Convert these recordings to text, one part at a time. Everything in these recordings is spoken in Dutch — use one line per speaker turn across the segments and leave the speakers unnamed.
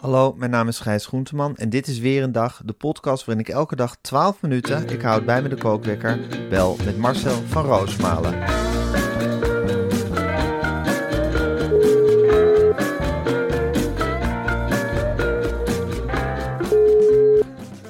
Hallo, mijn naam is Gijs Groenteman en dit is weer een dag, de podcast waarin ik elke dag 12 minuten, ik houd bij me de kookwekker, bel met Marcel van Roosmalen.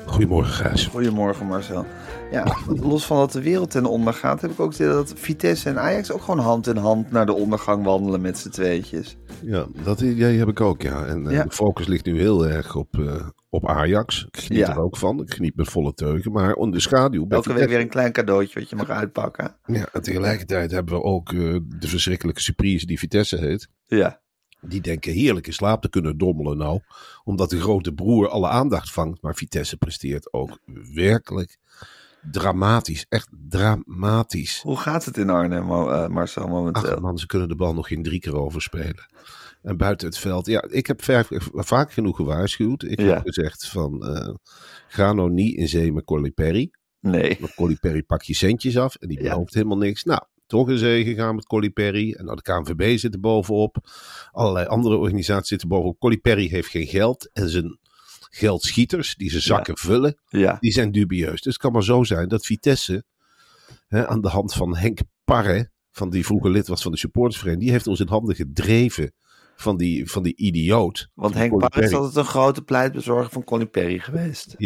Goedemorgen, Gijs.
Goedemorgen Marcel. Ja, los van dat de wereld ten onder gaat, heb ik ook het idee dat Vitesse en Ajax ook gewoon hand in hand naar de ondergang wandelen met z'n tweetjes.
Ja, dat i- idee heb ik ook, ja. En eh,
Ja.
de focus ligt nu heel erg op, eh, op Ajax. Ik geniet
Ja.
er ook van. Ik geniet met volle teugen. Maar onder de schaduw... bij
Elke week weer
Vitesse-
een klein cadeautje wat je mag uitpakken.
Ja, en tegelijkertijd hebben we ook eh, de verschrikkelijke surprise die Vitesse heet.
Ja,
Die denken heerlijk in slaap te kunnen dommelen nou. Omdat de grote broer alle aandacht vangt. Maar Vitesse presteert ook werkelijk dramatisch. Echt dramatisch.
hoe gaat het in Arnhem, Mo- eh, Marcel, momenteel?
Ach man, ze kunnen de bal nog geen drie keer overspelen. En buiten het veld. Ja, ik heb vijf- vaak genoeg gewaarschuwd. Ik
Ja.
heb gezegd van, eh, ga nou niet in zee met Colli Perry.
nee.
Want Colli Perry pak je centjes af en die
Ja.
belooft helemaal niks. Nou, toch in zee gegaan met Colli Perry. En nou, de KNVB zit er bovenop. Allerlei andere organisaties zitten bovenop. Colli Perry heeft geen geld. En zijn geldschieters, die zijn zakken vullen,
Ja,
die zijn dubieus. Dus het kan maar zo zijn dat Vitesse, hè, aan de hand van Henk Parre, van die vroeger lid was van de supportersvereniging, die heeft ons in handen gedreven van die, van die idioot.
want
Van
Henk
Colin
Parr is
Perry.
altijd een grote pleitbezorger van Colin Perry geweest.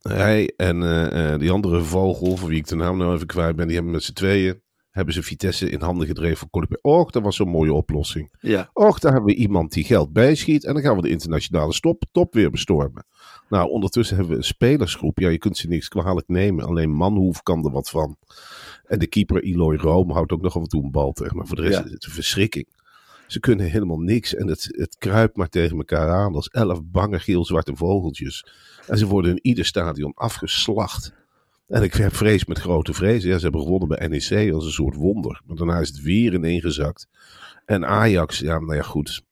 Hij en eh, eh, die andere vogel, van wie ik de naam nou even kwijt ben, die hebben met z'n tweeën, hebben ze Vitesse in handen gedreven van Colin Perry. Och, dat was zo'n mooie oplossing.
Ja,
Och, daar hebben we iemand die geld bijschiet. En dan gaan we de internationale stop, top weer bestormen. Nou, ondertussen hebben we een spelersgroep. Ja, je kunt ze niks kwalijk nemen. Alleen Manhoef kan er wat van. En de keeper Eloy Room houdt ook nog af en toe een bal tegen. Maar voor de rest
Ja.
is het een verschrikking. Ze kunnen helemaal niks. En het, het kruipt maar tegen elkaar aan als elf bange geel-zwarte vogeltjes. En ze worden in ieder stadion afgeslacht. En ik heb vrees met grote vrees. Ja, ze hebben gewonnen bij NEC als een soort wonder. Maar daarna is het weer ineengezakt. En Ajax, ja, nou ja, goed.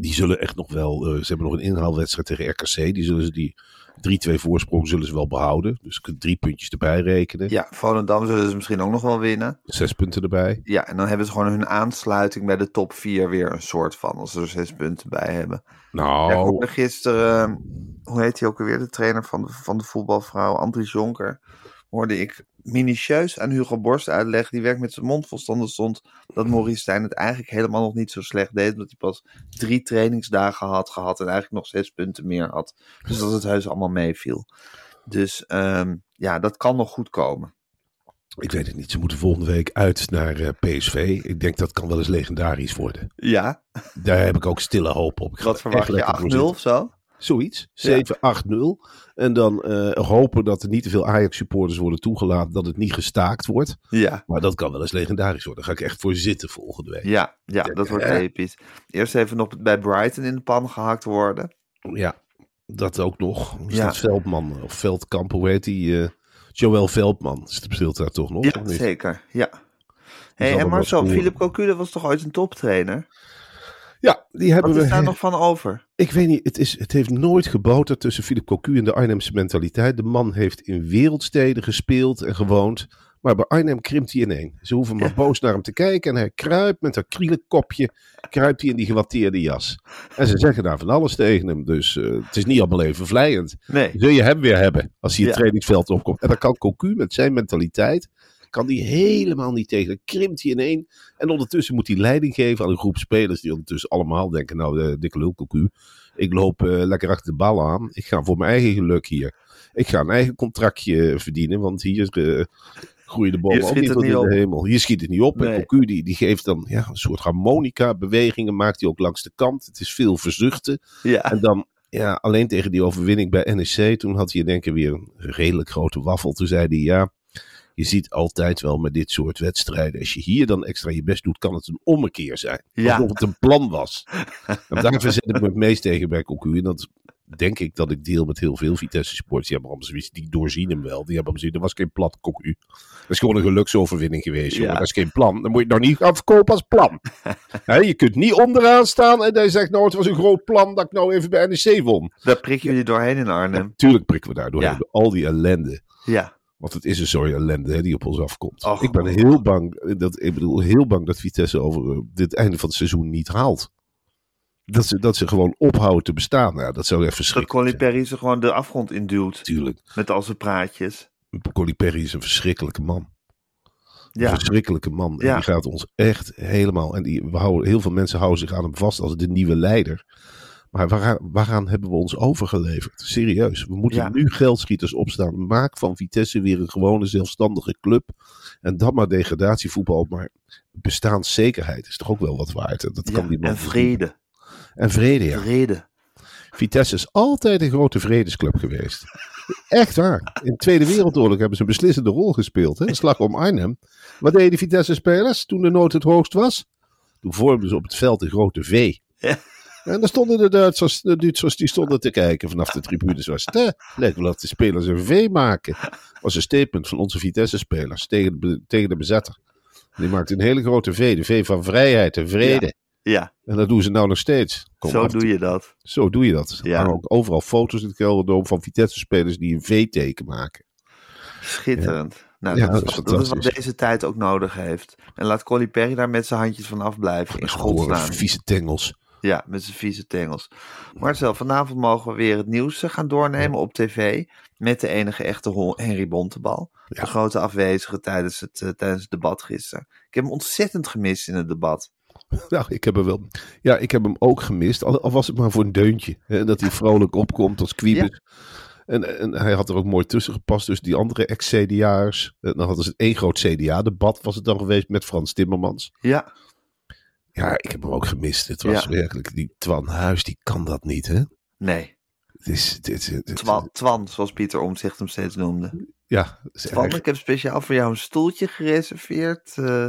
Die zullen echt nog wel. eh, ze hebben nog een inhaalwedstrijd tegen RKC. Die zullen ze die 3-2 voorsprong zullen ze wel behouden. Dus je kunt drie puntjes erbij rekenen.
ja Volendam zullen ze dus misschien ook nog wel winnen.
Zes punten erbij.
Ja, en dan hebben ze gewoon hun aansluiting bij de top 4 weer een soort van, als ze er zes punten bij hebben. Ja, ik
Nou,
hoorde gisteren, eh, hoe heet hij ook alweer, de trainer van de, van de voetbalvrouw, Andries Jonker, hoorde ik minutieus aan Hugo Borst uitleggen, die werkt met zijn mond volstanden stond, dat Maurice Stijn het eigenlijk helemaal nog niet zo slecht deed, omdat hij pas drie trainingsdagen had gehad en eigenlijk nog zes punten meer had. Dus dat het huis allemaal meeviel. Dus ehm, ja, dat kan nog goed komen.
ik weet het niet. Ze moeten volgende week uit naar eh, PSV. Ik denk dat kan wel eens legendarisch worden.
Ja,
Daar heb ik ook stille hoop op. Ik ga
wat
er
verwacht
echt lekker voor
je, 8-0
zitten.
of zo?
Zoiets. 7-8-0.
Ja.
En dan eh, hopen dat er niet te veel Ajax-supporters worden toegelaten. Dat het niet gestaakt wordt.
Ja.
Maar dat kan wel eens legendarisch worden. Daar ga ik echt voor zitten volgende week.
Ja, ja, dat wordt episch. Eerst even nog bij Brighton in de pan gehakt worden.
Ja, dat ook nog. Is
Ja.
dat Veldman eh, of Veldkamp, hoe heet die? eh, Joël Veldman speelt daar toch nog?
Ja,
of niet?
zeker. Ja.
zal
Hey,
er
en
wel
Marcel,
scoren.
Philip Cocu, dat was toch ooit een toptrainer?
ja die hebben
Wat
we.
is daar nog van over?
Ik weet niet, het, is, het heeft nooit geboterd tussen Philip Cocu en de Arnhemse mentaliteit. De man heeft in wereldsteden gespeeld en gewoond. Maar bij Arnhem krimpt hij ineen. Ze hoeven maar boos naar hem te kijken. En hij kruipt met dat krielenkopje, kruipt hij in die gewatteerde jas. En ze zeggen daar van alles tegen hem. Dus eh, het is niet allemaal even vlijend.
Nee.
Zul je hem weer hebben als hij het
Ja.
trainingsveld opkomt. En dan kan Cocu met zijn mentaliteit, kan die helemaal niet tegen. Dan krimpt hij ineen. En ondertussen moet hij leiding geven aan een groep spelers die ondertussen allemaal denken, nou, eh, dikke lul Cocu. Ik loop eh, lekker achter de bal aan. Ik ga voor mijn eigen geluk hier. Ik ga een eigen contractje verdienen, want hier eh, groeien de bomen
Je
ook
schiet
niet
het
tot in
niet op.
de hemel. Je schiet het niet op.
Nee.
En Cocu die, die geeft dan ja, een soort harmonica bewegingen, maakt hij ook langs de kant. Het is veel verzuchten.
Ja,
En dan ja, alleen tegen die overwinning bij NEC, toen had hij in één keer weer een redelijk grote waffel. Toen zei hij ja, je ziet altijd wel met dit soort wedstrijden, als je hier dan extra je best doet, kan het een ommekeer zijn.
Ja.
Alsof het een plan was. en daar verzet ik me het meest tegen bij Cocu. En dat denk ik dat ik deel met heel veel Vitesse-sports. Die hebben hem zoiets, die doorzien hem wel. Die hebben hem zien, er was geen plan, Cocu. Dat is gewoon een geluksoverwinning geweest, jongen.
Ja.
Dat is geen plan. Dan moet je het nou niet gaan verkopen als plan. Hè, je kunt niet onderaan staan en dan zegt, nou, het was een groot plan dat ik nou even bij NEC won.
daar prik je je doorheen in Arnhem.
Natuurlijk prikken we daar doorheen.
Ja.
door Al die ellende.
Ja,
Want het is een soort ellende hè, die op ons afkomt.
Och,
ik ben
man.
heel bang, dat, ik bedoel, heel bang dat Vitesse over eh, dit einde van het seizoen niet haalt. Dat ze, dat ze gewoon ophouden te bestaan. Nou, dat zou echt
dat
verschrikkelijk zijn.
Coliperi ze gewoon de afgrond induwt.
Natuurlijk.
Met al zijn praatjes.
Coliperi is een verschrikkelijke man. Een
Ja,
verschrikkelijke man. En
Ja.
die gaat ons echt helemaal. En die, we houden, heel veel mensen houden zich aan hem vast als de nieuwe leider. Maar waaraan, waaraan hebben we ons overgeleverd? Serieus. We moeten
Ja.
nu geldschieters opstaan. Maak van Vitesse weer een gewone zelfstandige club. En dan maar degradatievoetbal. Maar bestaanszekerheid is toch ook wel wat waard. En Dat kan
ja.
die man
en vrede.
En vrede, ja.
Vrede.
Vitesse is altijd een grote vredesclub geweest. Echt waar. In de Tweede Wereldoorlog hebben ze een beslissende rol gespeeld. Hè? De slag om Arnhem. Wat deden de Vitesse-spelers toen de nood het hoogst was? Toen vormden ze op het veld een grote V.
Ja.
En dan stonden de Duitsers, de Duitsers die stonden te kijken vanaf de tribunes. Was het, hè? Lijkt wel dat de spelers een V maken. was een statement van onze Vitesse-spelers tegen, de be- tegen de bezetter. Die maakte een hele grote V. De V van vrijheid en vrede.
Ja,
En dat doen ze nou nog steeds. Kom
zo
af en
doe je dat.
zo doe je dat. Er
Ja.
hangen ook overal foto's in het kelderdoom van Vitesse-spelers die een V-teken maken.
Schitterend. Nou,
Ja,
dat,
dat is
is, dat is wat
fantastisch.
deze tijd ook nodig heeft. En laat Colly Perry daar met zijn handjes van afblijven. In
Gewoon
godsnaam.
vieze tengels.
Ja, met zijn vieze tengels. Marcel, vanavond mogen we weer het nieuws eh, gaan doornemen op tv. Met de enige echte Hon- Henry Bontebal. De grote afwezige tijdens het, eh, tijdens het debat gisteren. Ik heb hem ontzettend gemist in het debat.
Nou, ik heb hem wel. Ja, ik heb hem ook gemist. Al, al was het maar voor een deuntje. Hè, dat hij vrolijk opkomt als kwiebus. En, en hij had er ook mooi tussen gepast. Dus die andere ex-CDA'ers. eh, Dan hadden ze één groot CDA-debat was het dan geweest met Frans Timmermans.
Ja,
Ja, ik heb hem ook gemist. Het was
Ja.
werkelijk. Die Twan Huis, die kan dat niet, hè?
nee.
Het is. Het, is- het, eh, het-
Twan, Twan, zoals Pieter Omtzigt hem steeds noemde.
ja, het is
Twan, ik heb speciaal voor jou een stoeltje gereserveerd. eh.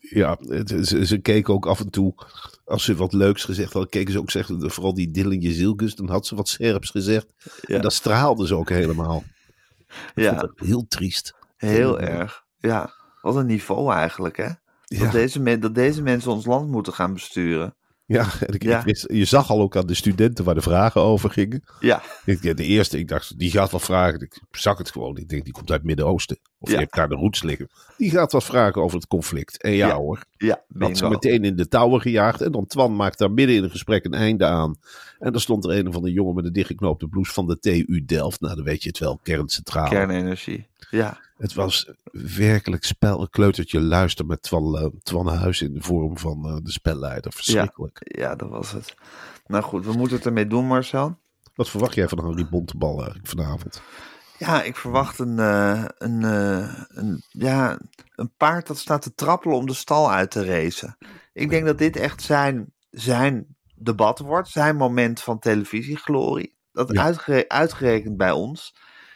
Ja, het- ze, ze keken ook af en toe, als ze wat leuks gezegd hadden, keken ze ook zeggen, vooral die Dillingje Zilkus, dan had ze wat scherps gezegd.
Ja.
En dat straalde ze ook helemaal. Ik
ja,
vond dat heel triest.
heel
Ehm,
erg. Ja, wat een niveau eigenlijk, hè?
Ja,
Dat, deze men- dat deze mensen ons land moeten gaan besturen.
ja, en ik,
Ja.
ik wist- je zag al ook aan de studenten waar de vragen over gingen.
Ja,
Ik- ja, de eerste, ik dacht, die gaat wat vragen. Ik zag het gewoon. Ik denk, die komt uit het Midden-Oosten. Of
Ja.
je hebt daar de roots liggen. Die gaat wat vragen over het conflict. En ja,
Ja.
hoor,
ja,
Dat ze
bingo.
meteen in de touwen gejaagd. En dan Twan maakt daar midden in een gesprek een einde aan. En dan stond er een van de jongen met een dichtgeknoopte blouse van de TU Delft. Nou, dan weet je het wel, kerncentraal.
Kernenergie. Ja,
Het was werkelijk spel, kleutertje luister met Twan, eh, Twan Huis in de vorm van eh, de spelleider. Verschrikkelijk.
ja, dat was het. Nou goed, we moeten het ermee doen, Marcel.
Wat verwacht jij van Henri Bontebal eigenlijk vanavond?
Ja, ik verwacht een, eh, een, eh, een, ja, een paard dat staat te trappelen om de stal uit te racen. Ik denk dat dit echt zijn, zijn debat wordt, zijn moment van televisieglorie. Dat
Ja.
uitgere- uitgerekend bij ons.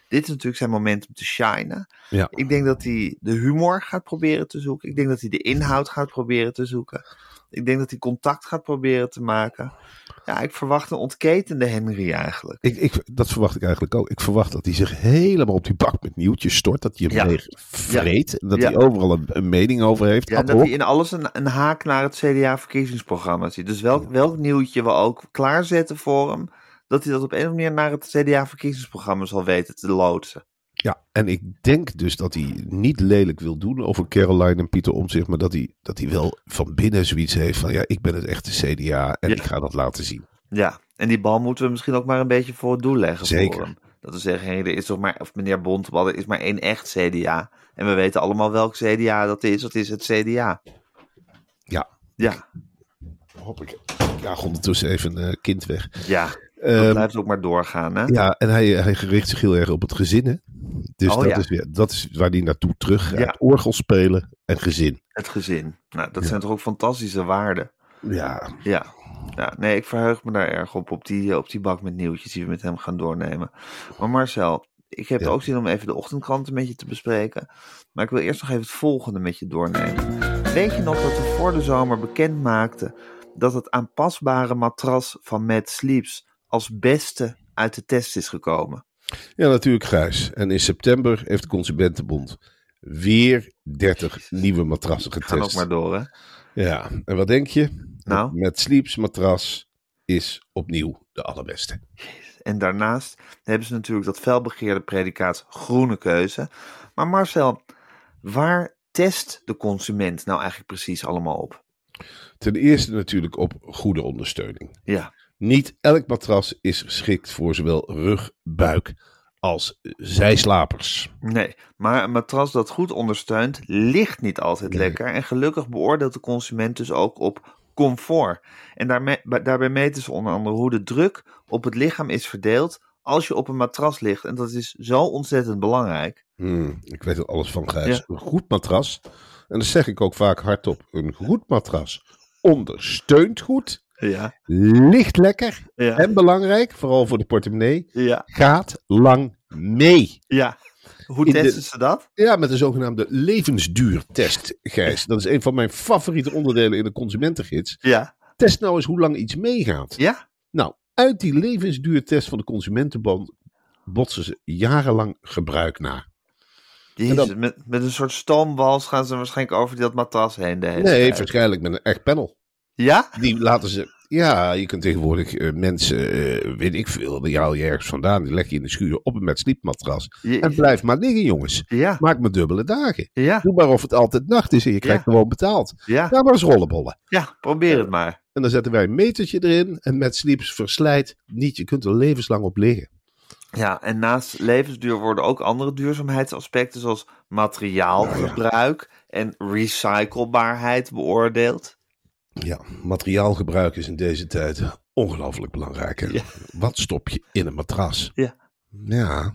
Dit is natuurlijk zijn moment om te shinen.
Ja.
Ik denk dat hij de humor gaat proberen te zoeken. Ik denk dat hij de inhoud gaat proberen te zoeken. Ik denk dat hij contact gaat proberen te maken. Ja, ik verwacht een ontketende Henry eigenlijk.
Ik, ik, dat verwacht ik eigenlijk ook. Ik verwacht dat hij zich helemaal op die bak met nieuwtjes stort. Dat hij hem
Ja.
leeg vreet. En dat
Ja.
hij overal een, een mening over heeft.
Ja,
ad
en dat
hoc.
hij in alles een, een haak naar het CDA-verkiezingsprogramma ziet. Dus welk, welk nieuwtje we ook klaarzetten voor hem, dat hij dat op een of andere manier naar het CDA-verkiezingsprogramma zal weten te loodsen.
Ja, en ik denk dus dat hij niet lelijk wil doen over Caroline en Pieter Omtzigt, maar dat hij, dat hij wel van binnen zoiets heeft van ja, ik ben het echte CDA en
Ja.
ik ga dat laten zien.
Ja, en die bal moeten we misschien ook maar een beetje voor het doel leggen
Zeker.
voor hem. Dat we zeggen, hé, er is toch maar, of meneer Bontebal, er is maar één echt CDA. En we weten allemaal welk CDA dat is, dat is het CDA.
Ja,
Ja,
hop ik. Ja, ondertussen even een eh, kind weg.
ja, dat
Ehm,
blijft ook maar doorgaan, hè?
eh, ja, en hij, hij richt zich heel erg op het gezin. hè. Dus
Oh,
dat,
ja.
is, weer- dat is waar die naartoe terug gaat.
Ja.
Orgel spelen en gezin.
Het gezin. Nou, dat zijn toch ook fantastische waarden.
Ja,
Ja. ja. Nee, ik verheug me daar erg op. Op die, op die bak met nieuwtjes die we met hem gaan doornemen. Maar Marcel, ik heb
Ja.
ook zin om even de ochtendkranten met je te bespreken. Maar ik wil eerst nog even het volgende met je doornemen. Weet je nog dat we voor de zomer bekend maakten dat het aanpasbare matras van Matt Sleeps als beste uit de test is gekomen?
ja natuurlijk Grijs. En in september heeft de Consumentenbond weer 30 nieuwe matrassen
Gaan ook
getest.
maar door, hè?
Ja, en wat denk je?
Nou?
Met Sleeps matras is opnieuw de allerbeste.
En daarnaast hebben ze natuurlijk dat felbegeerde predicaat groene keuze. Maar Marcel, waar test de consument nou eigenlijk precies allemaal op?
Ten eerste natuurlijk op goede ondersteuning.
Ja,
Niet elk matras is geschikt voor zowel rug, buik als zijslapers.
nee. Maar een matras dat goed ondersteunt, ligt niet altijd lekker. En gelukkig beoordeelt de consument dus ook op comfort. En daarmee, ba- daarbij meten ze onder andere hoe de druk op het lichaam is verdeeld als je op een matras ligt. En dat is zo ontzettend belangrijk.
Hmm, ik weet er alles van, Gijs. Een goed matras, en dat zeg ik ook vaak hardop, een goed matras ondersteunt goed,
Ja,
ligt lekker
Ja.
en belangrijk, vooral voor de portemonnee,
ja,
gaat lang mee.
ja. Hoe
In de-
testen ze dat?
Ja, met de zogenaamde levensduurtest, Gijs. Dat is een van mijn favoriete onderdelen in de consumentengids.
Ja,
Test nou eens hoe lang iets meegaat.
ja.
Nou, uit die levensduurtest van de consumentenbond botsen ze jarenlang gebruik na.
Jezus,
dan-
met, met een soort stoomwals gaan ze waarschijnlijk over dat matras heen. De hele
Nee,
tijd.
waarschijnlijk met een echt panel.
Ja?
Die laten ze... Ja, je kunt tegenwoordig eh, mensen, eh, weet ik veel, die haal je ergens vandaan. Die leg je in de schuur op een met sliepmatras.
Je-
En blijf maar liggen, jongens.
Ja,
Maak maar dubbele dagen.
ja,
Doe maar of het altijd nacht is en je krijgt
Ja.
gewoon betaald.
ja.
Ga maar eens rollenbollen.
Ja, probeer het maar.
En dan zetten wij een metertje erin. En met sleeps verslijt niet. Je kunt er levenslang op liggen.
Ja, en naast levensduur worden ook andere duurzaamheidsaspecten zoals
Oh,
materiaalgebruik en recyclebaarheid beoordeeld.
Ja, materiaalgebruik is in deze tijd ongelooflijk belangrijk. hè?
Ja.
Wat stop je in een matras?
Ja.
Ja,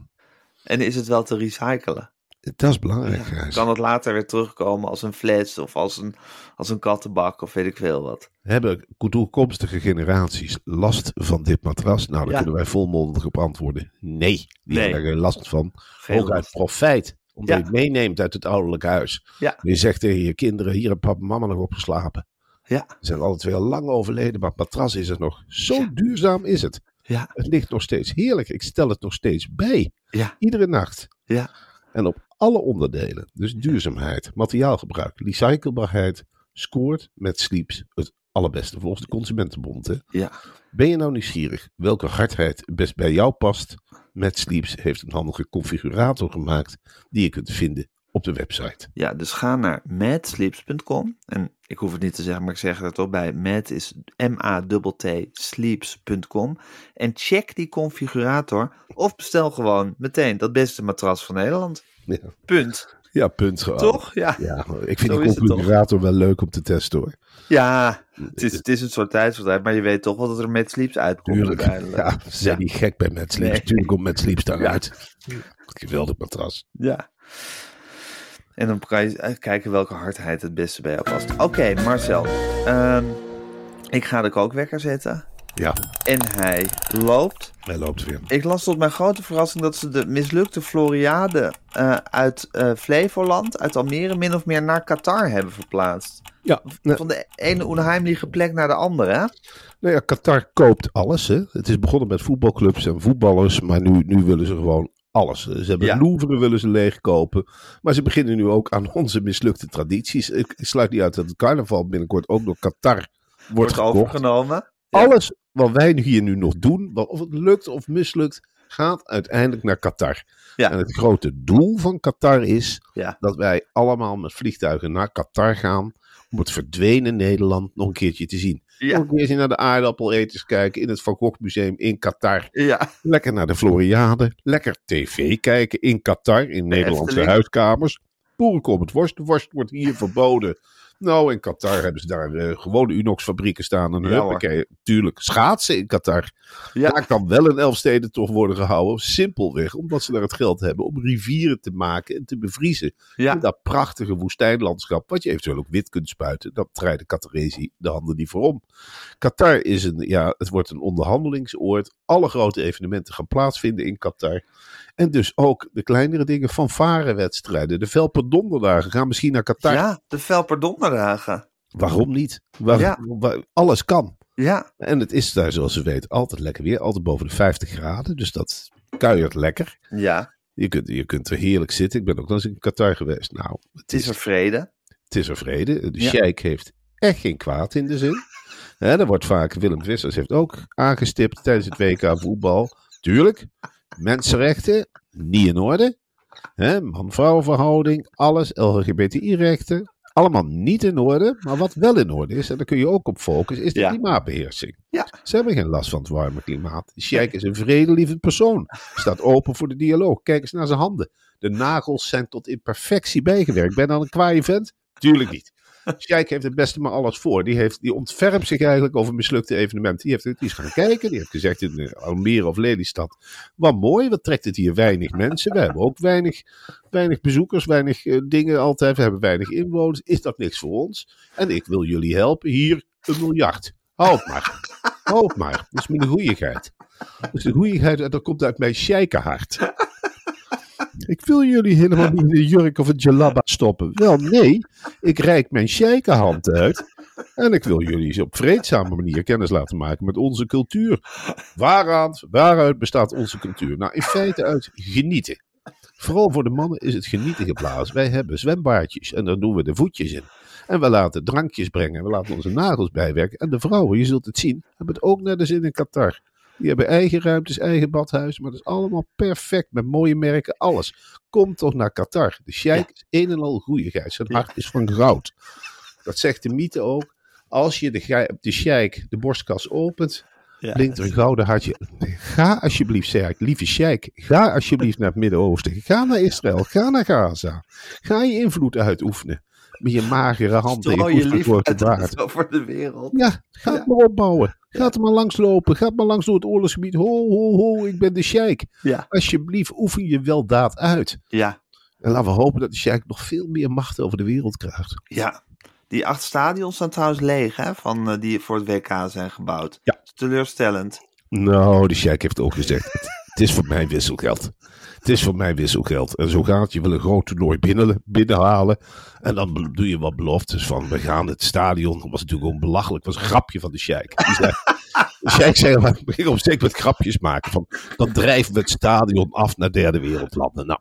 En is het wel te recyclen?
dat is belangrijk. Gijs.
Kan het later weer terugkomen als een fles of als een, als een kattenbak of weet ik veel wat?
Hebben toekomstige generaties last van dit matras? Nou, dan
Ja.
kunnen wij volmondig op antwoorden. Nee, die
Nee.
hebben er last van.
Geen
Ook uit
last.
profijt. Omdat
Ja.
je het meeneemt uit het ouderlijk huis.
Ja.
Je zegt tegen je kinderen, hier hebben papa en mama nog op geslapen.
Ja,
Ze zijn alle twee al lang overleden, maar het matras is er nog. Zo
Ja.
duurzaam is het.
ja,
Het ligt nog steeds heerlijk. Ik stel het nog steeds bij.
ja,
Iedere nacht.
ja.
En op alle onderdelen. Dus duurzaamheid, materiaalgebruik, recyclebaarheid. Scoort met Sleeps het allerbeste volgens de Consumentenbond. hè.
ja.
Ben je nou nieuwsgierig welke hardheid het best bij jou past? Met Sleeps heeft een handige configurator gemaakt die je kunt vinden op de website.
Ja, dus ga naar madsleeps.com. En ik hoef het niet te zeggen, maar ik zeg het er toch bij. Mad is M-A-T-T sleeps.com. En check die configurator of bestel gewoon meteen dat beste matras van Nederland.
Ja,
Punt.
ja punt gewoon.
Toch? Ja.
Ja, ik vind
Zo is
die
het toch.
configurator wel leuk om te testen hoor.
Ja, het is, het is een soort tijdsverdrijf, maar je weet toch wel dat er met sleeps uitkomt
Tuurlijk.
uiteindelijk.
Ja, ze zijn niet gek bij Mad Sleeps.
Nee.
Tuurlijk komt Mad Sleeps daaruit. Geweldig matras.
Ja. En dan kan je eh, kijken welke hardheid het beste bij jou past. Oké, Marcel. ehm, ik ga de kookwekker zetten.
Ja,
En hij loopt.
hij loopt weer.
Ik las tot mijn grote verrassing dat ze de mislukte Floriade eh, uit eh, Flevoland, uit Almere, min of meer naar Qatar hebben verplaatst.
Ja, nou,
Van de ene onheimelijke plek naar de andere, hè?
nou ja, Qatar koopt alles. Hè. Het is begonnen met voetbalclubs en voetballers, maar nu, nu willen ze gewoon alles. Ze hebben
Ja.
Louvre willen ze leegkopen, maar ze beginnen nu ook aan onze mislukte tradities. Ik, ik sluit niet uit dat het carnaval binnenkort ook door Qatar wordt,
Wordt
gekocht.
overgenomen.
Alles wat wij hier nu nog doen, wel of het lukt of mislukt, gaat uiteindelijk naar Qatar.
Ja.
En het grote doel van Qatar is
Ja.
dat wij allemaal met vliegtuigen naar Qatar gaan. Om het verdwenen Nederland nog een keertje te zien. Nog
Ja,
een keertje naar de aardappeleters kijken in het Van Gogh Museum in Qatar.
ja,
Lekker naar de Floriade. Lekker tv kijken in Qatar, in Nederlandse
Efteling.
huiskamers. Boerenkool met worst. De worst wordt hier verboden. Nou, in Qatar hebben ze daar eh, gewone Unox-fabrieken staan. En
Ja,
huppakee, tuurlijk, schaatsen in Qatar. Daar kan wel een Elfstedentocht worden gehouden. Simpelweg omdat ze daar het geld hebben om rivieren te maken en te bevriezen.
Ja.
In dat prachtige woestijnlandschap, wat je eventueel ook wit kunt spuiten. Dan draaien de Qataresi de handen niet voor om. Qatar is een, ja, het wordt een onderhandelingsoord. Alle grote evenementen gaan plaatsvinden in Qatar. En dus ook de kleinere dingen, fanfarenwedstrijden. De Velperdonderdagen gaan misschien naar Qatar.
Ja, de Velperdonderdagen.
Waarom niet? Waar-
Ja.
waar- alles kan.
Ja,
En het is daar, zoals we weten, altijd lekker weer. Altijd boven de 50 graden. Dus dat kuiert lekker.
ja.
Je kunt, je kunt er heerlijk zitten. Ik ben ook nog eens in Qatar geweest. Nou, het
Het is
is,
er vrede.
het is er vrede. De
Ja.
sheik heeft echt geen kwaad in de zin. Hè, er wordt vaak, Willem Wissers heeft ook aangestipt tijdens het WK voetbal. Tuurlijk, mensenrechten, niet in orde. Hè, Man-vrouw verhouding, alles, LGBTI-rechten. Allemaal niet in orde, maar wat wel in orde is, en daar kun je ook op focussen, is de
Ja.
klimaatbeheersing.
Ja.
Ze hebben geen last van het warme klimaat. De Sheikh is een vredelievend persoon. Staat open voor de dialoog. Kijk eens naar zijn handen. De nagels zijn tot in perfectie bijgewerkt. Ben je dan een kwaai vent? Tuurlijk niet. Sheikh heeft het beste maar alles voor. Die, heeft, die ontfermt zich eigenlijk over mislukte evenementen. Die, heeft, die is gaan kijken. Die heeft gezegd in eh, Almere of Lelystad. Wat mooi, wat trekt het hier weinig mensen. We hebben ook weinig, weinig bezoekers, weinig eh, dingen altijd. We hebben weinig inwoners. Is dat niks voor ons? En ik wil jullie helpen. Hier een miljard. Houd maar. Houd maar. Dat is mijn goeieheid. Dat is de goeieheid. Dat komt uit mijn sheikenhart. Ik wil jullie helemaal niet in de jurk of het jalaba stoppen. Wel, nee. Ik reik mijn sheikenhand uit. En ik wil jullie eens op vreedzame manier kennis laten maken met onze cultuur. Waaraan, waaruit bestaat onze cultuur? Nou, in feite uit genieten. Vooral voor de mannen is het genieten geblazen. Wij hebben zwembaadjes en daar doen we de voetjes in. En we laten drankjes brengen. en We laten onze nagels bijwerken. En de vrouwen, je zult het zien, hebben het ook net als in in Qatar. Die hebben eigen ruimtes, eigen badhuis. Maar dat is allemaal perfect. Met mooie merken, alles. Kom toch naar Qatar. De sheik is een en al goeieheid. Zijn hart is van goud. Dat zegt de mythe ook. Als je de, gij- de sheik de borstkas opent,
Ja.
blinkt er een gouden hartje. Ga alsjeblieft, sheik, lieve sheik, ga alsjeblieft naar het Midden-Oosten. Ga naar Israël, ga naar Gaza. Ga je invloed uitoefenen met je magere hand en je
Strooi nou je
koestend korte
liefde
baard.
uit over de wereld.
Ja, ga het maar opbouwen. Ga het maar langslopen. Ga het maar langs door het oorlogsgebied. Ho, ho, ho, ik ben de sheik.
Ja.
Alsjeblieft, oefen je weldaad uit.
Ja,
En laten we hopen dat de sheik nog veel meer macht over de wereld krijgt.
ja. Die acht stadions staan trouwens leeg, hè, van, eh, die voor het WK zijn gebouwd.
Ja.
Dat is Teleurstellend.
Nou, de Sjaak heeft ook gezegd: het, het is voor mijn wisselgeld. Het is voor mijn wisselgeld. En zo gaat het. Je wil een groot toernooi binnen, binnenhalen. En dan be- doe je wat beloftes van: we gaan het stadion. Dat was natuurlijk gewoon belachelijk. Dat was een grapje van de Sjaak. Die zei. de Sjaak zei: we beginnen op steek met grapjes maken. Van, dan drijven we het stadion af naar derde wereldlanden. Nou,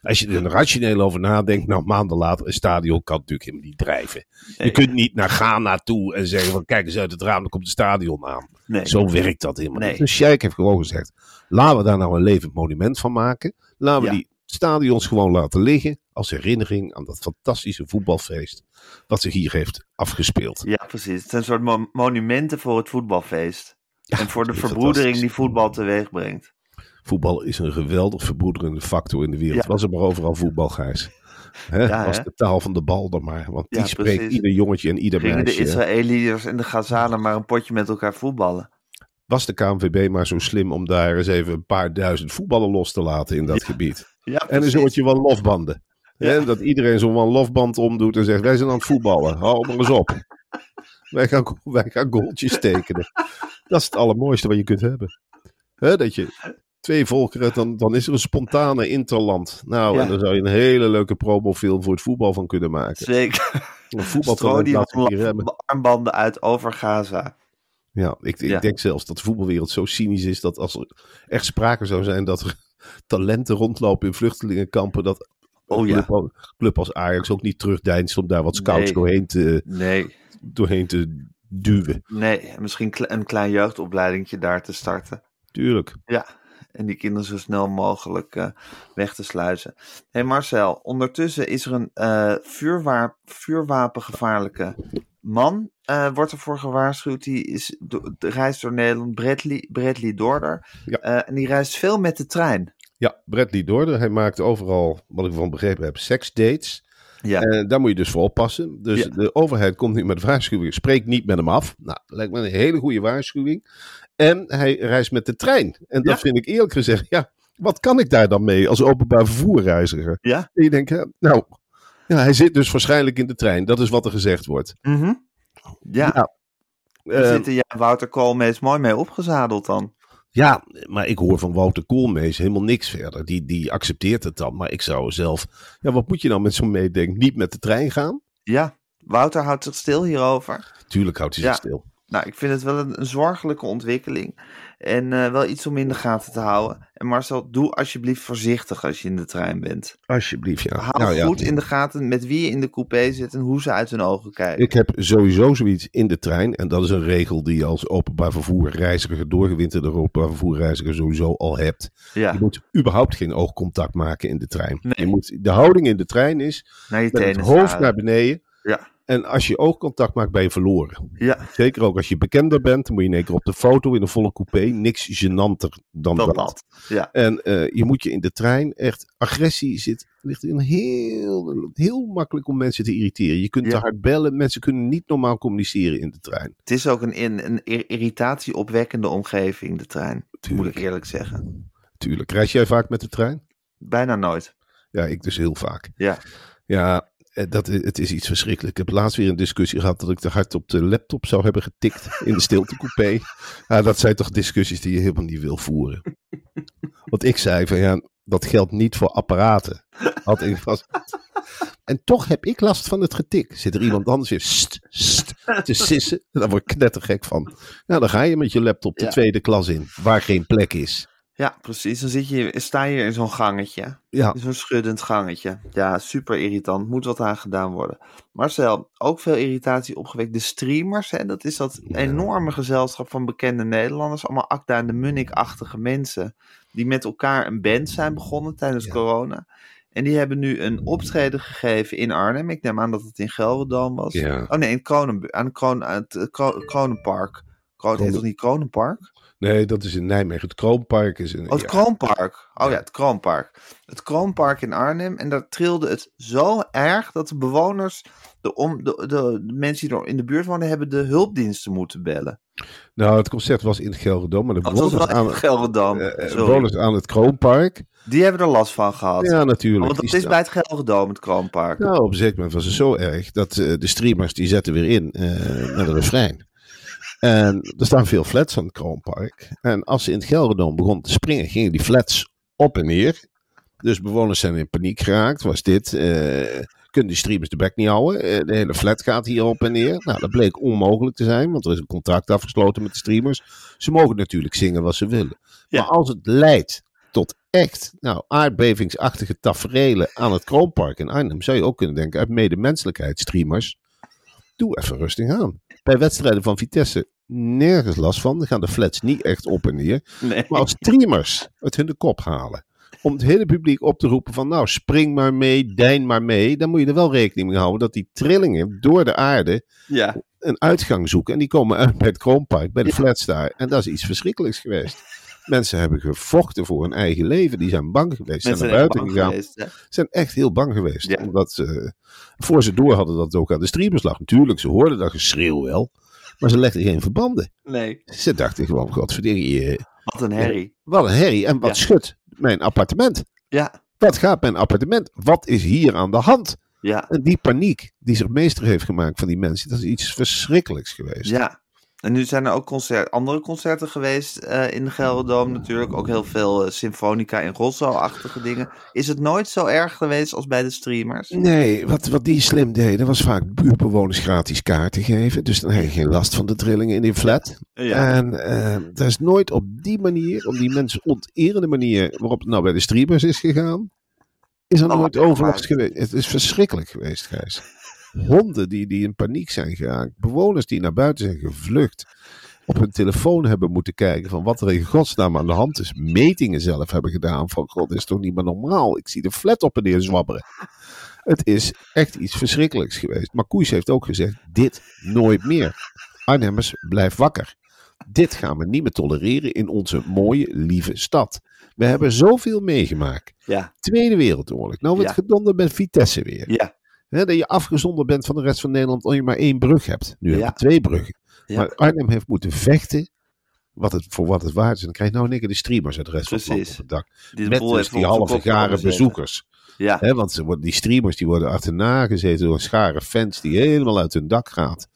als je er rationeel over nadenkt, nou maanden later, een stadion kan natuurlijk helemaal niet drijven.
Nee.
Je kunt niet naar Ghana toe en zeggen: van, kijk eens uit het raam, dan komt het stadion aan.
Nee.
Zo werkt dat helemaal
Nee.
niet. Dus Sjaik heeft gewoon gezegd, laten we daar nou een levend monument van maken. Laten we
Ja.
die stadions gewoon laten liggen als herinnering aan dat fantastische voetbalfeest wat zich hier heeft afgespeeld.
Ja, precies. Het zijn een soort mo- monumenten voor het voetbalfeest. en voor de
dat is
verbroedering
fantastisch.
die voetbal teweeg brengt.
Voetbal is een geweldig verbroederende factor in de wereld.
Ja.
Was er maar overal voetbal, Gijs. Hè,
Ja,
was
hè?
de taal van de bal dan maar. Want die
Ja,
spreekt
precies.
ieder jongetje en ieder
Gingen de
meisje. hè.
Israëliërs en de Gazanen maar een potje met elkaar voetballen.
Was de KNVB maar zo slim om daar eens even een paar duizend voetballen los te laten in dat gebied.
Ja,
En een
precies.
soortje van lofbanden. Hè, dat iedereen zo'n one lofband omdoet en zegt: Wij zijn aan het voetballen, hou maar eens op. Wij gaan, wij gaan goaltjes tekenen. Dat is het allermooiste wat je kunt hebben. Hè, dat je twee volkeren, dan, dan is er een spontane interland. Nou,
Ja.
en daar zou je een hele leuke promofilm voor het voetbal van kunnen maken.
Zeker.
Een
Strooi
voetbaltalent
die
laat zich hier hebben.
armbanden- armbanden uit over Gaza.
Ja, ik, ik
Ja.
denk zelfs dat de voetbalwereld zo cynisch is dat als er echt sprake zou zijn dat er talenten rondlopen in vluchtelingenkampen, dat
Oh
een
ja.
club, al- club als Ajax ook niet terugdeinst om daar wat scouts
Nee.
doorheen, te,
Nee.
doorheen te duwen.
Nee, misschien kle- een klein jeugdopleidingje daar te starten.
Tuurlijk.
Ja, en die kinderen zo snel mogelijk eh, weg te sluizen. Hé hey Marcel, ondertussen is er een eh, vuurwa- vuurwapengevaarlijke man, eh, wordt ervoor gewaarschuwd. Die is do- reist door Nederland, Bradley, Bradley Dorder.
Ja.
Eh, en die reist veel met de trein.
Ja, Bradley Dorder, hij maakt overal, wat ik van begrepen heb, seksdates.
Ja.
Eh, daar moet je dus voor oppassen. Dus
Ja.
de overheid komt nu met waarschuwingen. Spreek niet met hem af. Nou, lijkt me een hele goede waarschuwing. En hij reist met de trein. En dat
Ja.
vind ik eerlijk gezegd, ja, wat kan ik daar dan mee als openbaar vervoerreiziger?
Ja.
En je denkt, hè, nou, ja, hij zit dus waarschijnlijk in de trein. Dat is wat er gezegd wordt.
Mhm. Ja,
Nou,
daar
Eh,
zitten ja, Wouter Koolmees mooi mee opgezadeld dan.
Ja, maar ik hoor van Wouter Koolmees helemaal niks verder. Die, die accepteert het dan. Maar ik zou zelf... Ja, wat moet je nou met zo'n meedenken? Niet met de trein gaan?
Ja, Wouter houdt zich stil hierover.
Tuurlijk houdt hij zich
Ja.
stil.
Nou, ik vind het wel een, een zorgelijke ontwikkeling. En eh, wel iets om in de gaten te houden. En Marcel, doe alsjeblieft voorzichtig als je in de trein bent.
Alsjeblieft, ja.
Hou
Nou ja,
goed in de gaten met wie je in de coupé zit en hoe ze uit hun ogen kijken.
Ik heb sowieso zoiets in de trein. En dat is een regel die je als openbaar vervoerreiziger, doorgewinterde openbaar vervoerreiziger sowieso al hebt.
ja,
Je moet überhaupt geen oogcontact maken in de trein.
Nee.
Je moet, de houding in de trein is
naar je
met het
tenen
hoofd
staan.
naar beneden.
Ja,
En als je oogcontact maakt, ben je verloren.
ja,
Zeker ook als je bekender bent, dan moet je in één keer op de foto in een volle coupé. Niks gênanter dan
dat
dat.
dat. Ja,
En eh, je moet je in de trein echt. Agressie zit, ligt in heel, heel makkelijk om mensen te irriteren. Je kunt
Ja.
te hard bellen. Mensen kunnen niet normaal communiceren in de trein.
het is ook een, in- een ir- irritatieopwekkende omgeving, de trein. Moet ik eerlijk zeggen.
Tuurlijk. Reis jij vaak met de trein?
Bijna nooit.
Ja, ik dus heel vaak.
Ja,
Ja, eh, dat, i- het is iets verschrikkelijks. Ik heb laatst weer een discussie gehad dat ik te hard op de laptop zou hebben getikt in de stiltecoupé. Ja, dat zijn toch discussies die je helemaal niet wil voeren. Want ik zei van ja, dat geldt niet voor apparaten. Had ik vast. En toch heb ik last van het getik. Zit er iemand anders weer st, st, te sissen? Daar word ik knettergek van. Nou, dan ga je met je laptop de
Ja.
tweede klas in, waar geen plek is.
ja precies. Dan zit je, sta je in zo'n gangetje.
Ja,
In Zo'n schuddend gangetje. Ja, super irritant. Moet wat aan gedaan worden. Marcel, ook veel irritatie opgewekt. De streamers, hè, dat is dat enorme gezelschap van bekende Nederlanders. Allemaal Acta en de Munnik-achtige mensen. Die met elkaar een band zijn begonnen tijdens corona. En die hebben nu een optreden gegeven in Arnhem. Ik neem aan dat het in Gelredome was.
Ja.
Oh nee, in Kronenbu- aan Kroon, aan het eh, Kro- Kronenpark. Kro- het heet
Kronen-
toch niet Kronenpark?
nee, dat is in Nijmegen. Het Kroonpark is een.
Oh, het
ja.
Kroonpark. Oh ja, het Kroonpark. Het Kroonpark in Arnhem. En daar trilde het zo erg dat de bewoners, de, om, de, de, de mensen die er in de buurt wonen, hebben de hulpdiensten moeten bellen.
Nou, het concert was in Gelredome, maar de
Want Oh, dat
bewoners
was wel
aan,
in Gelredam.
eh, eh,
Sorry.
bewoners aan het Kroonpark.
Die hebben er last van gehad.
Ja, natuurlijk.
Oh, Want dat
Die
is
sta-
bij het Gelredam, het Kroonpark.
Nou, op een zeker moment was het zo erg dat eh, de streamers die zetten weer in eh met een refrein. En er staan veel flats aan het Kroonpark. En als ze in het Gelredome begonnen te springen, gingen die flats op en neer. Dus bewoners zijn in paniek geraakt. Was dit? eh, kunnen die streamers de bek niet houden? Eh, de hele flat gaat hier op en neer. Nou, dat bleek onmogelijk te zijn, want er is een contract afgesloten met de streamers. Ze mogen natuurlijk zingen wat ze willen.
Ja.
Maar als het leidt tot echt nou, aardbevingsachtige taferelen aan het Kroonpark in Arnhem, zou je ook kunnen denken uit medemenselijkheid, streamers, doe even rustig aan. Bij wedstrijden van Vitesse nergens last van. Dan gaan de flats niet echt op en neer.
nee.
Maar als streamers het hun de kop halen. Om het hele publiek op te roepen van nou spring maar mee, dein maar mee. Dan moet je er wel rekening mee houden dat die trillingen door de aarde
Ja.
een uitgang zoeken. En die komen uit bij het Kroonpark, bij de flats daar. En dat is iets verschrikkelijks geweest. Mensen hebben gevochten voor hun eigen leven. Die zijn bang geweest. Zijn
Mensen
naar
zijn
buiten
bang
gegaan.
geweest, hè.
Zijn echt heel bang geweest.
Ja.
Omdat ze, voor ze door hadden dat het ook aan de streamers lag. Natuurlijk, ze hoorden dat geschreeuw wel. Maar ze legden geen verbanden.
Nee,
Ze dachten gewoon, godverdorie, eh,
wat een herrie.
wat een herrie en wat
Ja.
schudt mijn appartement?
Ja,
Wat gaat mijn appartement? Wat is hier aan de hand?
ja,
En die paniek die zich meester heeft gemaakt van die mensen, dat is iets verschrikkelijks geweest.
ja. En nu zijn er ook concert, andere concerten geweest eh, in de Gelredome natuurlijk. Ook heel veel eh, symfonica en rosso-achtige dingen. Is het nooit zo erg geweest als bij de streamers?
Nee, wat, wat die slim deden was vaak buurtbewoners gratis kaarten geven. Dus dan heb je geen last van de trillingen in die flat. En eh dat is nooit op die manier, op die mensen onterende manier waarop het nou bij de streamers is gegaan, is er
Oh,
nooit
echt waar?
overlast geweest. Het is verschrikkelijk geweest, Gijs. Honden die, die in paniek zijn geraakt, bewoners die naar buiten zijn gevlucht, op hun telefoon hebben moeten kijken van wat er in godsnaam aan de hand is, metingen zelf hebben gedaan van god, dit is toch niet meer normaal, ik zie de flat op en neer zwabberen. Het is echt iets verschrikkelijks geweest. Maar Koes heeft ook gezegd, dit nooit meer. Arnhemmers, blijf wakker. Dit gaan we niet meer tolereren in onze mooie, lieve stad. We hebben zoveel meegemaakt.
Ja,
Tweede Wereldoorlog. Nou, wat
Ja.
gedonder met Vitesse weer.
ja,
Hè, dat je afgezonderd bent van de rest van Nederland omdat je maar één brug hebt. Nu heb
Ja.
je twee bruggen.
Ja.
Maar Arnhem heeft moeten vechten wat het, voor wat het waard is. En dan krijg je nou in één keer de streamers uit de rest van het land
Precies.
op het dak.
Die
Met
boel
dus
heeft
die
op de
halve
kop
garen
gezeten.
bezoekers.
Ja,
Hè, want ze worden, die streamers die worden achterna gezeten door een schare fans die helemaal uit hun dak gaat.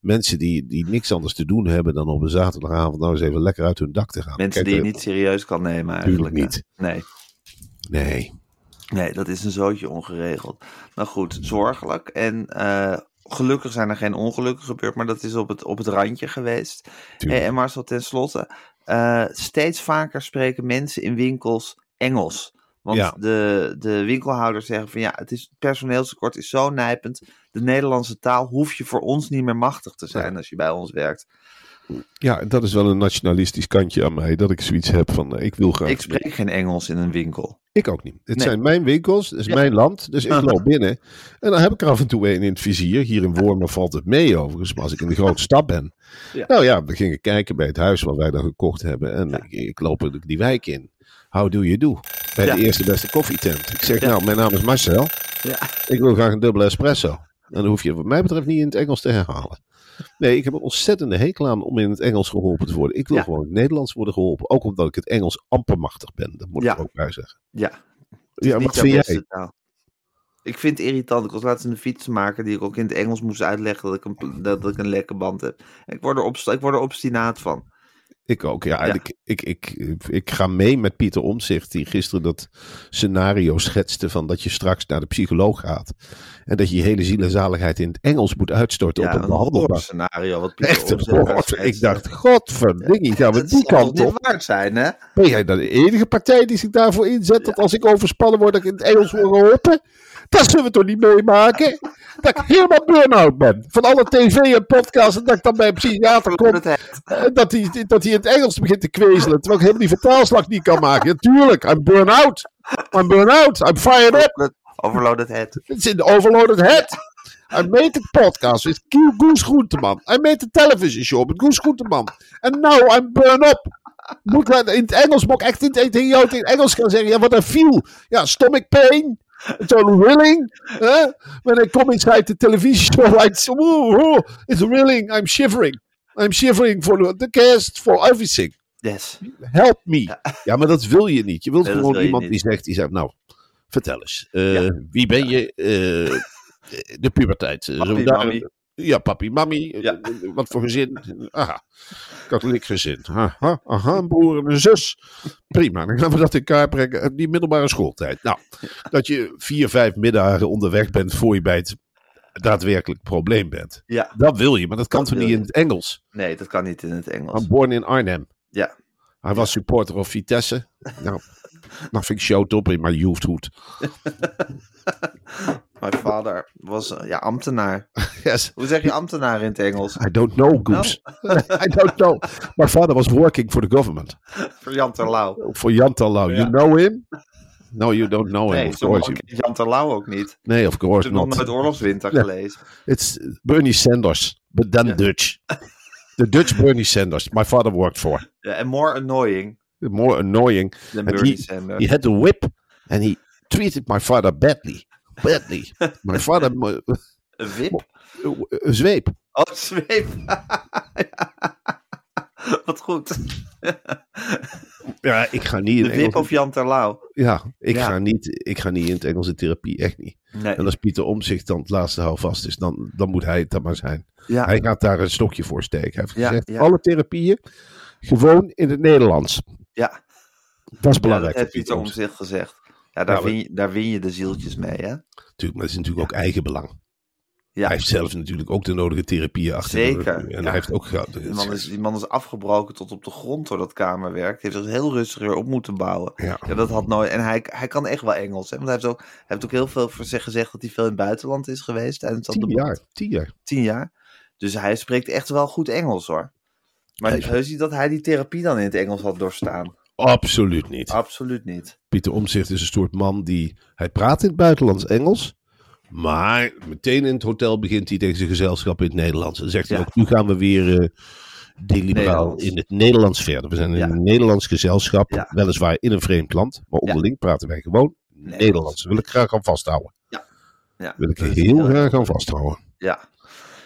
Mensen die, die niks anders te doen hebben dan op een zaterdagavond nou eens even lekker uit hun dak te gaan.
mensen
Kijk,
die je
eh,
niet serieus kan nemen
Tuurlijk
eigenlijk.
niet.
Nee.
Nee.
Nee, dat is een zootje ongeregeld. Nou goed, zorgelijk. En eh, gelukkig zijn er geen ongelukken gebeurd, maar dat is op het, op het randje geweest.
Tuurlijk.
Eh, en Marcel, tenslotte, eh steeds vaker spreken mensen in winkels Engels. Want
Ja.
de, de winkelhouders zeggen van ja, het, is, het personeelstekort is zo nijpend. De Nederlandse taal hoef je voor ons niet meer machtig te zijn als je bij ons werkt.
Ja, dat is wel een nationalistisch kantje aan mij. Dat ik zoiets heb van, eh, ik wil graag...
Ik spreek geen Engels in een winkel.
Ik ook niet. Het
Nee.
zijn mijn winkels, het is
Ja.
mijn land, dus ik loop binnen. En dan heb ik er af en toe een in het vizier. Hier in Wormer valt het mee overigens, maar als ik in de grote stad ben.
Ja.
Nou ja, we gingen kijken bij het huis wat wij dan gekocht hebben. En ik, ik loop natuurlijk die wijk in. How do you do? Bij
Ja.
de eerste beste koffietent. Ik zeg, nou, mijn naam is Marcel.
Ja.
Ik wil graag een dubbele espresso. En dan hoef je wat mij betreft niet in het Engels te herhalen. Nee, ik heb een ontzettende hekel aan om in het Engels geholpen te worden. Ik wil
Ja.
gewoon in het Nederlands worden geholpen. Ook omdat ik het Engels amper machtig ben. Dat moet
Ja.
ik er ook bij zeggen.
Ja,
Ja,
niet
wat
jouw
vind jij?
beste taal. Ik vind het irritant. Ik was laatst een fiets maken die ik ook in het Engels moest uitleggen dat ik een, dat, dat ik een lekke band heb. Ik word er, obst- ik word er obstinaat van.
Ik ook, ja. En
Ja.
Ik, ik, ik, ik ga mee met Pieter Omzicht, die gisteren dat scenario schetste van dat je straks naar de psycholoog gaat. En dat je je hele ziel en zaligheid in het Engels moet uitstorten op
Ja,
een
een horror
behandelbaar.
scenario. Wat Pieter
Echt een
Omtzigt daar
horror.
schetst.
Ik dacht, godverdikkie, gaan we
dat
die
zal
kant
niet
op?
waard zijn, hè?
Ben jij dan de enige partij die zich daarvoor inzet? Dat als ik overspannen word, dat ik in het Engels word geholpen? Dat zullen we toch niet meemaken? Dat ik helemaal burn-out ben. Van alle tv en podcasts. En dat ik dan bij een psychiater kom.
Dat heet.
En Eh, dat hij, dat hij in het Engels begint te kwezelen. Terwijl ik helemaal die vertaalslag niet kan maken. Natuurlijk, I'm burn-out. I'm burn-out. I'm fired up.
Overloaded head.
It's in the overloaded head. I made the podcast with Q Goes Groenteman. I made the television show with Goes Groenteman. And now I'm burn up. Moet ik dat in het Engels, moet ik echt in het, tegen jou in het Engels gaan zeggen? Ja, wat een feel. Ja, stomach pain. It's all willing. Huh? When I come inside the television show, it's, ooh, ooh, it's willing. I'm shivering. I'm shivering for the cast, for everything.
Yes.
Help me. Ja, maar dat wil je niet. Je wilt
Nee, dat
gewoon
wil je
iemand
niet.
die zegt, die zegt, nou, vertel eens. eh,
Ja.
Wie ben je? Eh, de puberteit. eh, zullen we daar-
mami.
Ja, papi, mami. eh,
Ja.
eh, Wat voor gezin? Aha, katholiek gezin. Aha, aha, een broer en een zus. Prima, dan gaan we dat in kaart brengen. Eh, Die middelbare schooltijd. Nou, dat je vier, vijf middagen onderweg bent voor je bij het daadwerkelijk probleem bent.
Ja.
Dat wil je, maar dat kan
Dat
toch
wil
niet in
je.
het Engels?
Nee, dat kan niet in het Engels.
I'm born in Arnhem.
Ja.
Hij was supporter of Vitesse. Nou, nou vind ik shout op in mijn youth hood.
Mijn vader was eh, ja, ambtenaar.
Yes.
Hoe zeg je ambtenaar in het Engels?
I don't know, Goose. I don't know. My father was working for the government.
Voor Jan Terlouw.
Voor Jan Terlouw. You
Ja.
know him? No, you don't know him.
Nee,
of
sommigen
course.
kennen Jan Terlouw ook niet.
you- Nee, of
Ik
course
heb nog
not.
nooit Oorlogswinter
Nee.
gelezen.
It's Bernie Sanders, but then Dutch. The Dutch Bernie Sanders my father worked for.
Ja, en more annoying
More annoying.
than
En
Bernie
die-
Sanders.
He had a whip and he treated my father badly. Badly. My father, mo-
Een wip?
een zweep.
Oh, zweep. Wat goed.
Ja, ik ga niet in
De
het
wip
Engels.
of Jan Terlouw?
Ja, ik,
Ja.
Ga niet, ik ga niet in het Engels in therapie, echt niet.
Nee.
En als Pieter Omzicht dan het laatste houvast is, dan, dan moet hij het dan maar zijn.
Ja,
Hij gaat daar een stokje voor steken. Hij heeft
Ja,
gezegd,
ja.
alle therapieën gewoon in het Nederlands.
ja.
Dat is
ja
belangrijk
dat heeft
voor
Pieter om
Omtzigt.
zich gezegd. Ja, daar,
Ja, maar-
win je, daar win je de zieltjes mee, hè?
Natuurlijk, maar het is natuurlijk ook eigenbelang.
Ja.
Hij heeft zelf natuurlijk ook de nodige therapieën achter de rug.
Zeker,
En
ja.
hij heeft ook gehad. dus
Die man, is, die man is afgebroken tot op de grond door dat kamerwerk. Die heeft zich heel rustig weer op moeten bouwen.
Ja.
Ja, dat had nooit. En hij, hij kan echt wel Engels. Hè? Want hij heeft ook, hij heeft ook heel veel voor zich gezegd dat hij veel in het buitenland is geweest. En dat
Tien
de
jaar, tien jaar.
tien jaar. Dus hij spreekt echt wel goed Engels hoor. Maar
Hij-
heus niet dat hij die therapie dan in het Engels had doorstaan.
Absoluut niet.
Absoluut niet.
Pieter Omzicht is een soort man die. Hij praat in het buitenlands Engels. Maar meteen in het hotel begint hij tegen zijn gezelschap in het Nederlands. Dan zegt hij
Ja.
ook: nu gaan we weer eh deliberaal
Nederlands.
in het Nederlands verder. We zijn in
Ja.
een Nederlands gezelschap,
Ja.
weliswaar in een vreemd land. Maar onderling praten wij gewoon Nederlands. Dat wil ik graag aan vasthouden.
Ja. Ja,
Wil ik
dat is
heel
erg.
graag aan vasthouden.
Ja.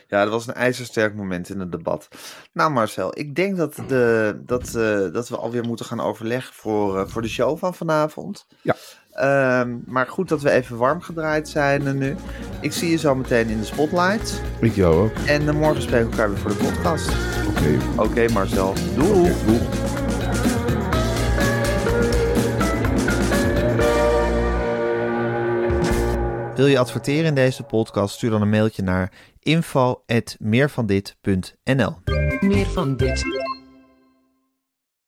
ja, dat was een ijzersterk moment in het debat. Nou Marcel, ik denk dat, de, dat, eh, dat we alweer moeten gaan overleggen voor, eh, voor de show van vanavond.
Ja.
Ehm, maar goed dat we even warm gedraaid zijn eh, nu. Ik zie je zo meteen in de spotlights.
Ik jou ook.
En eh, morgen spreken we elkaar weer voor de podcast.
Oké.
Oké Marcel, doei.
doei.
Wil je adverteren in deze podcast? Stuur dan een mailtje naar info.meervandit.nl
Meer van dit.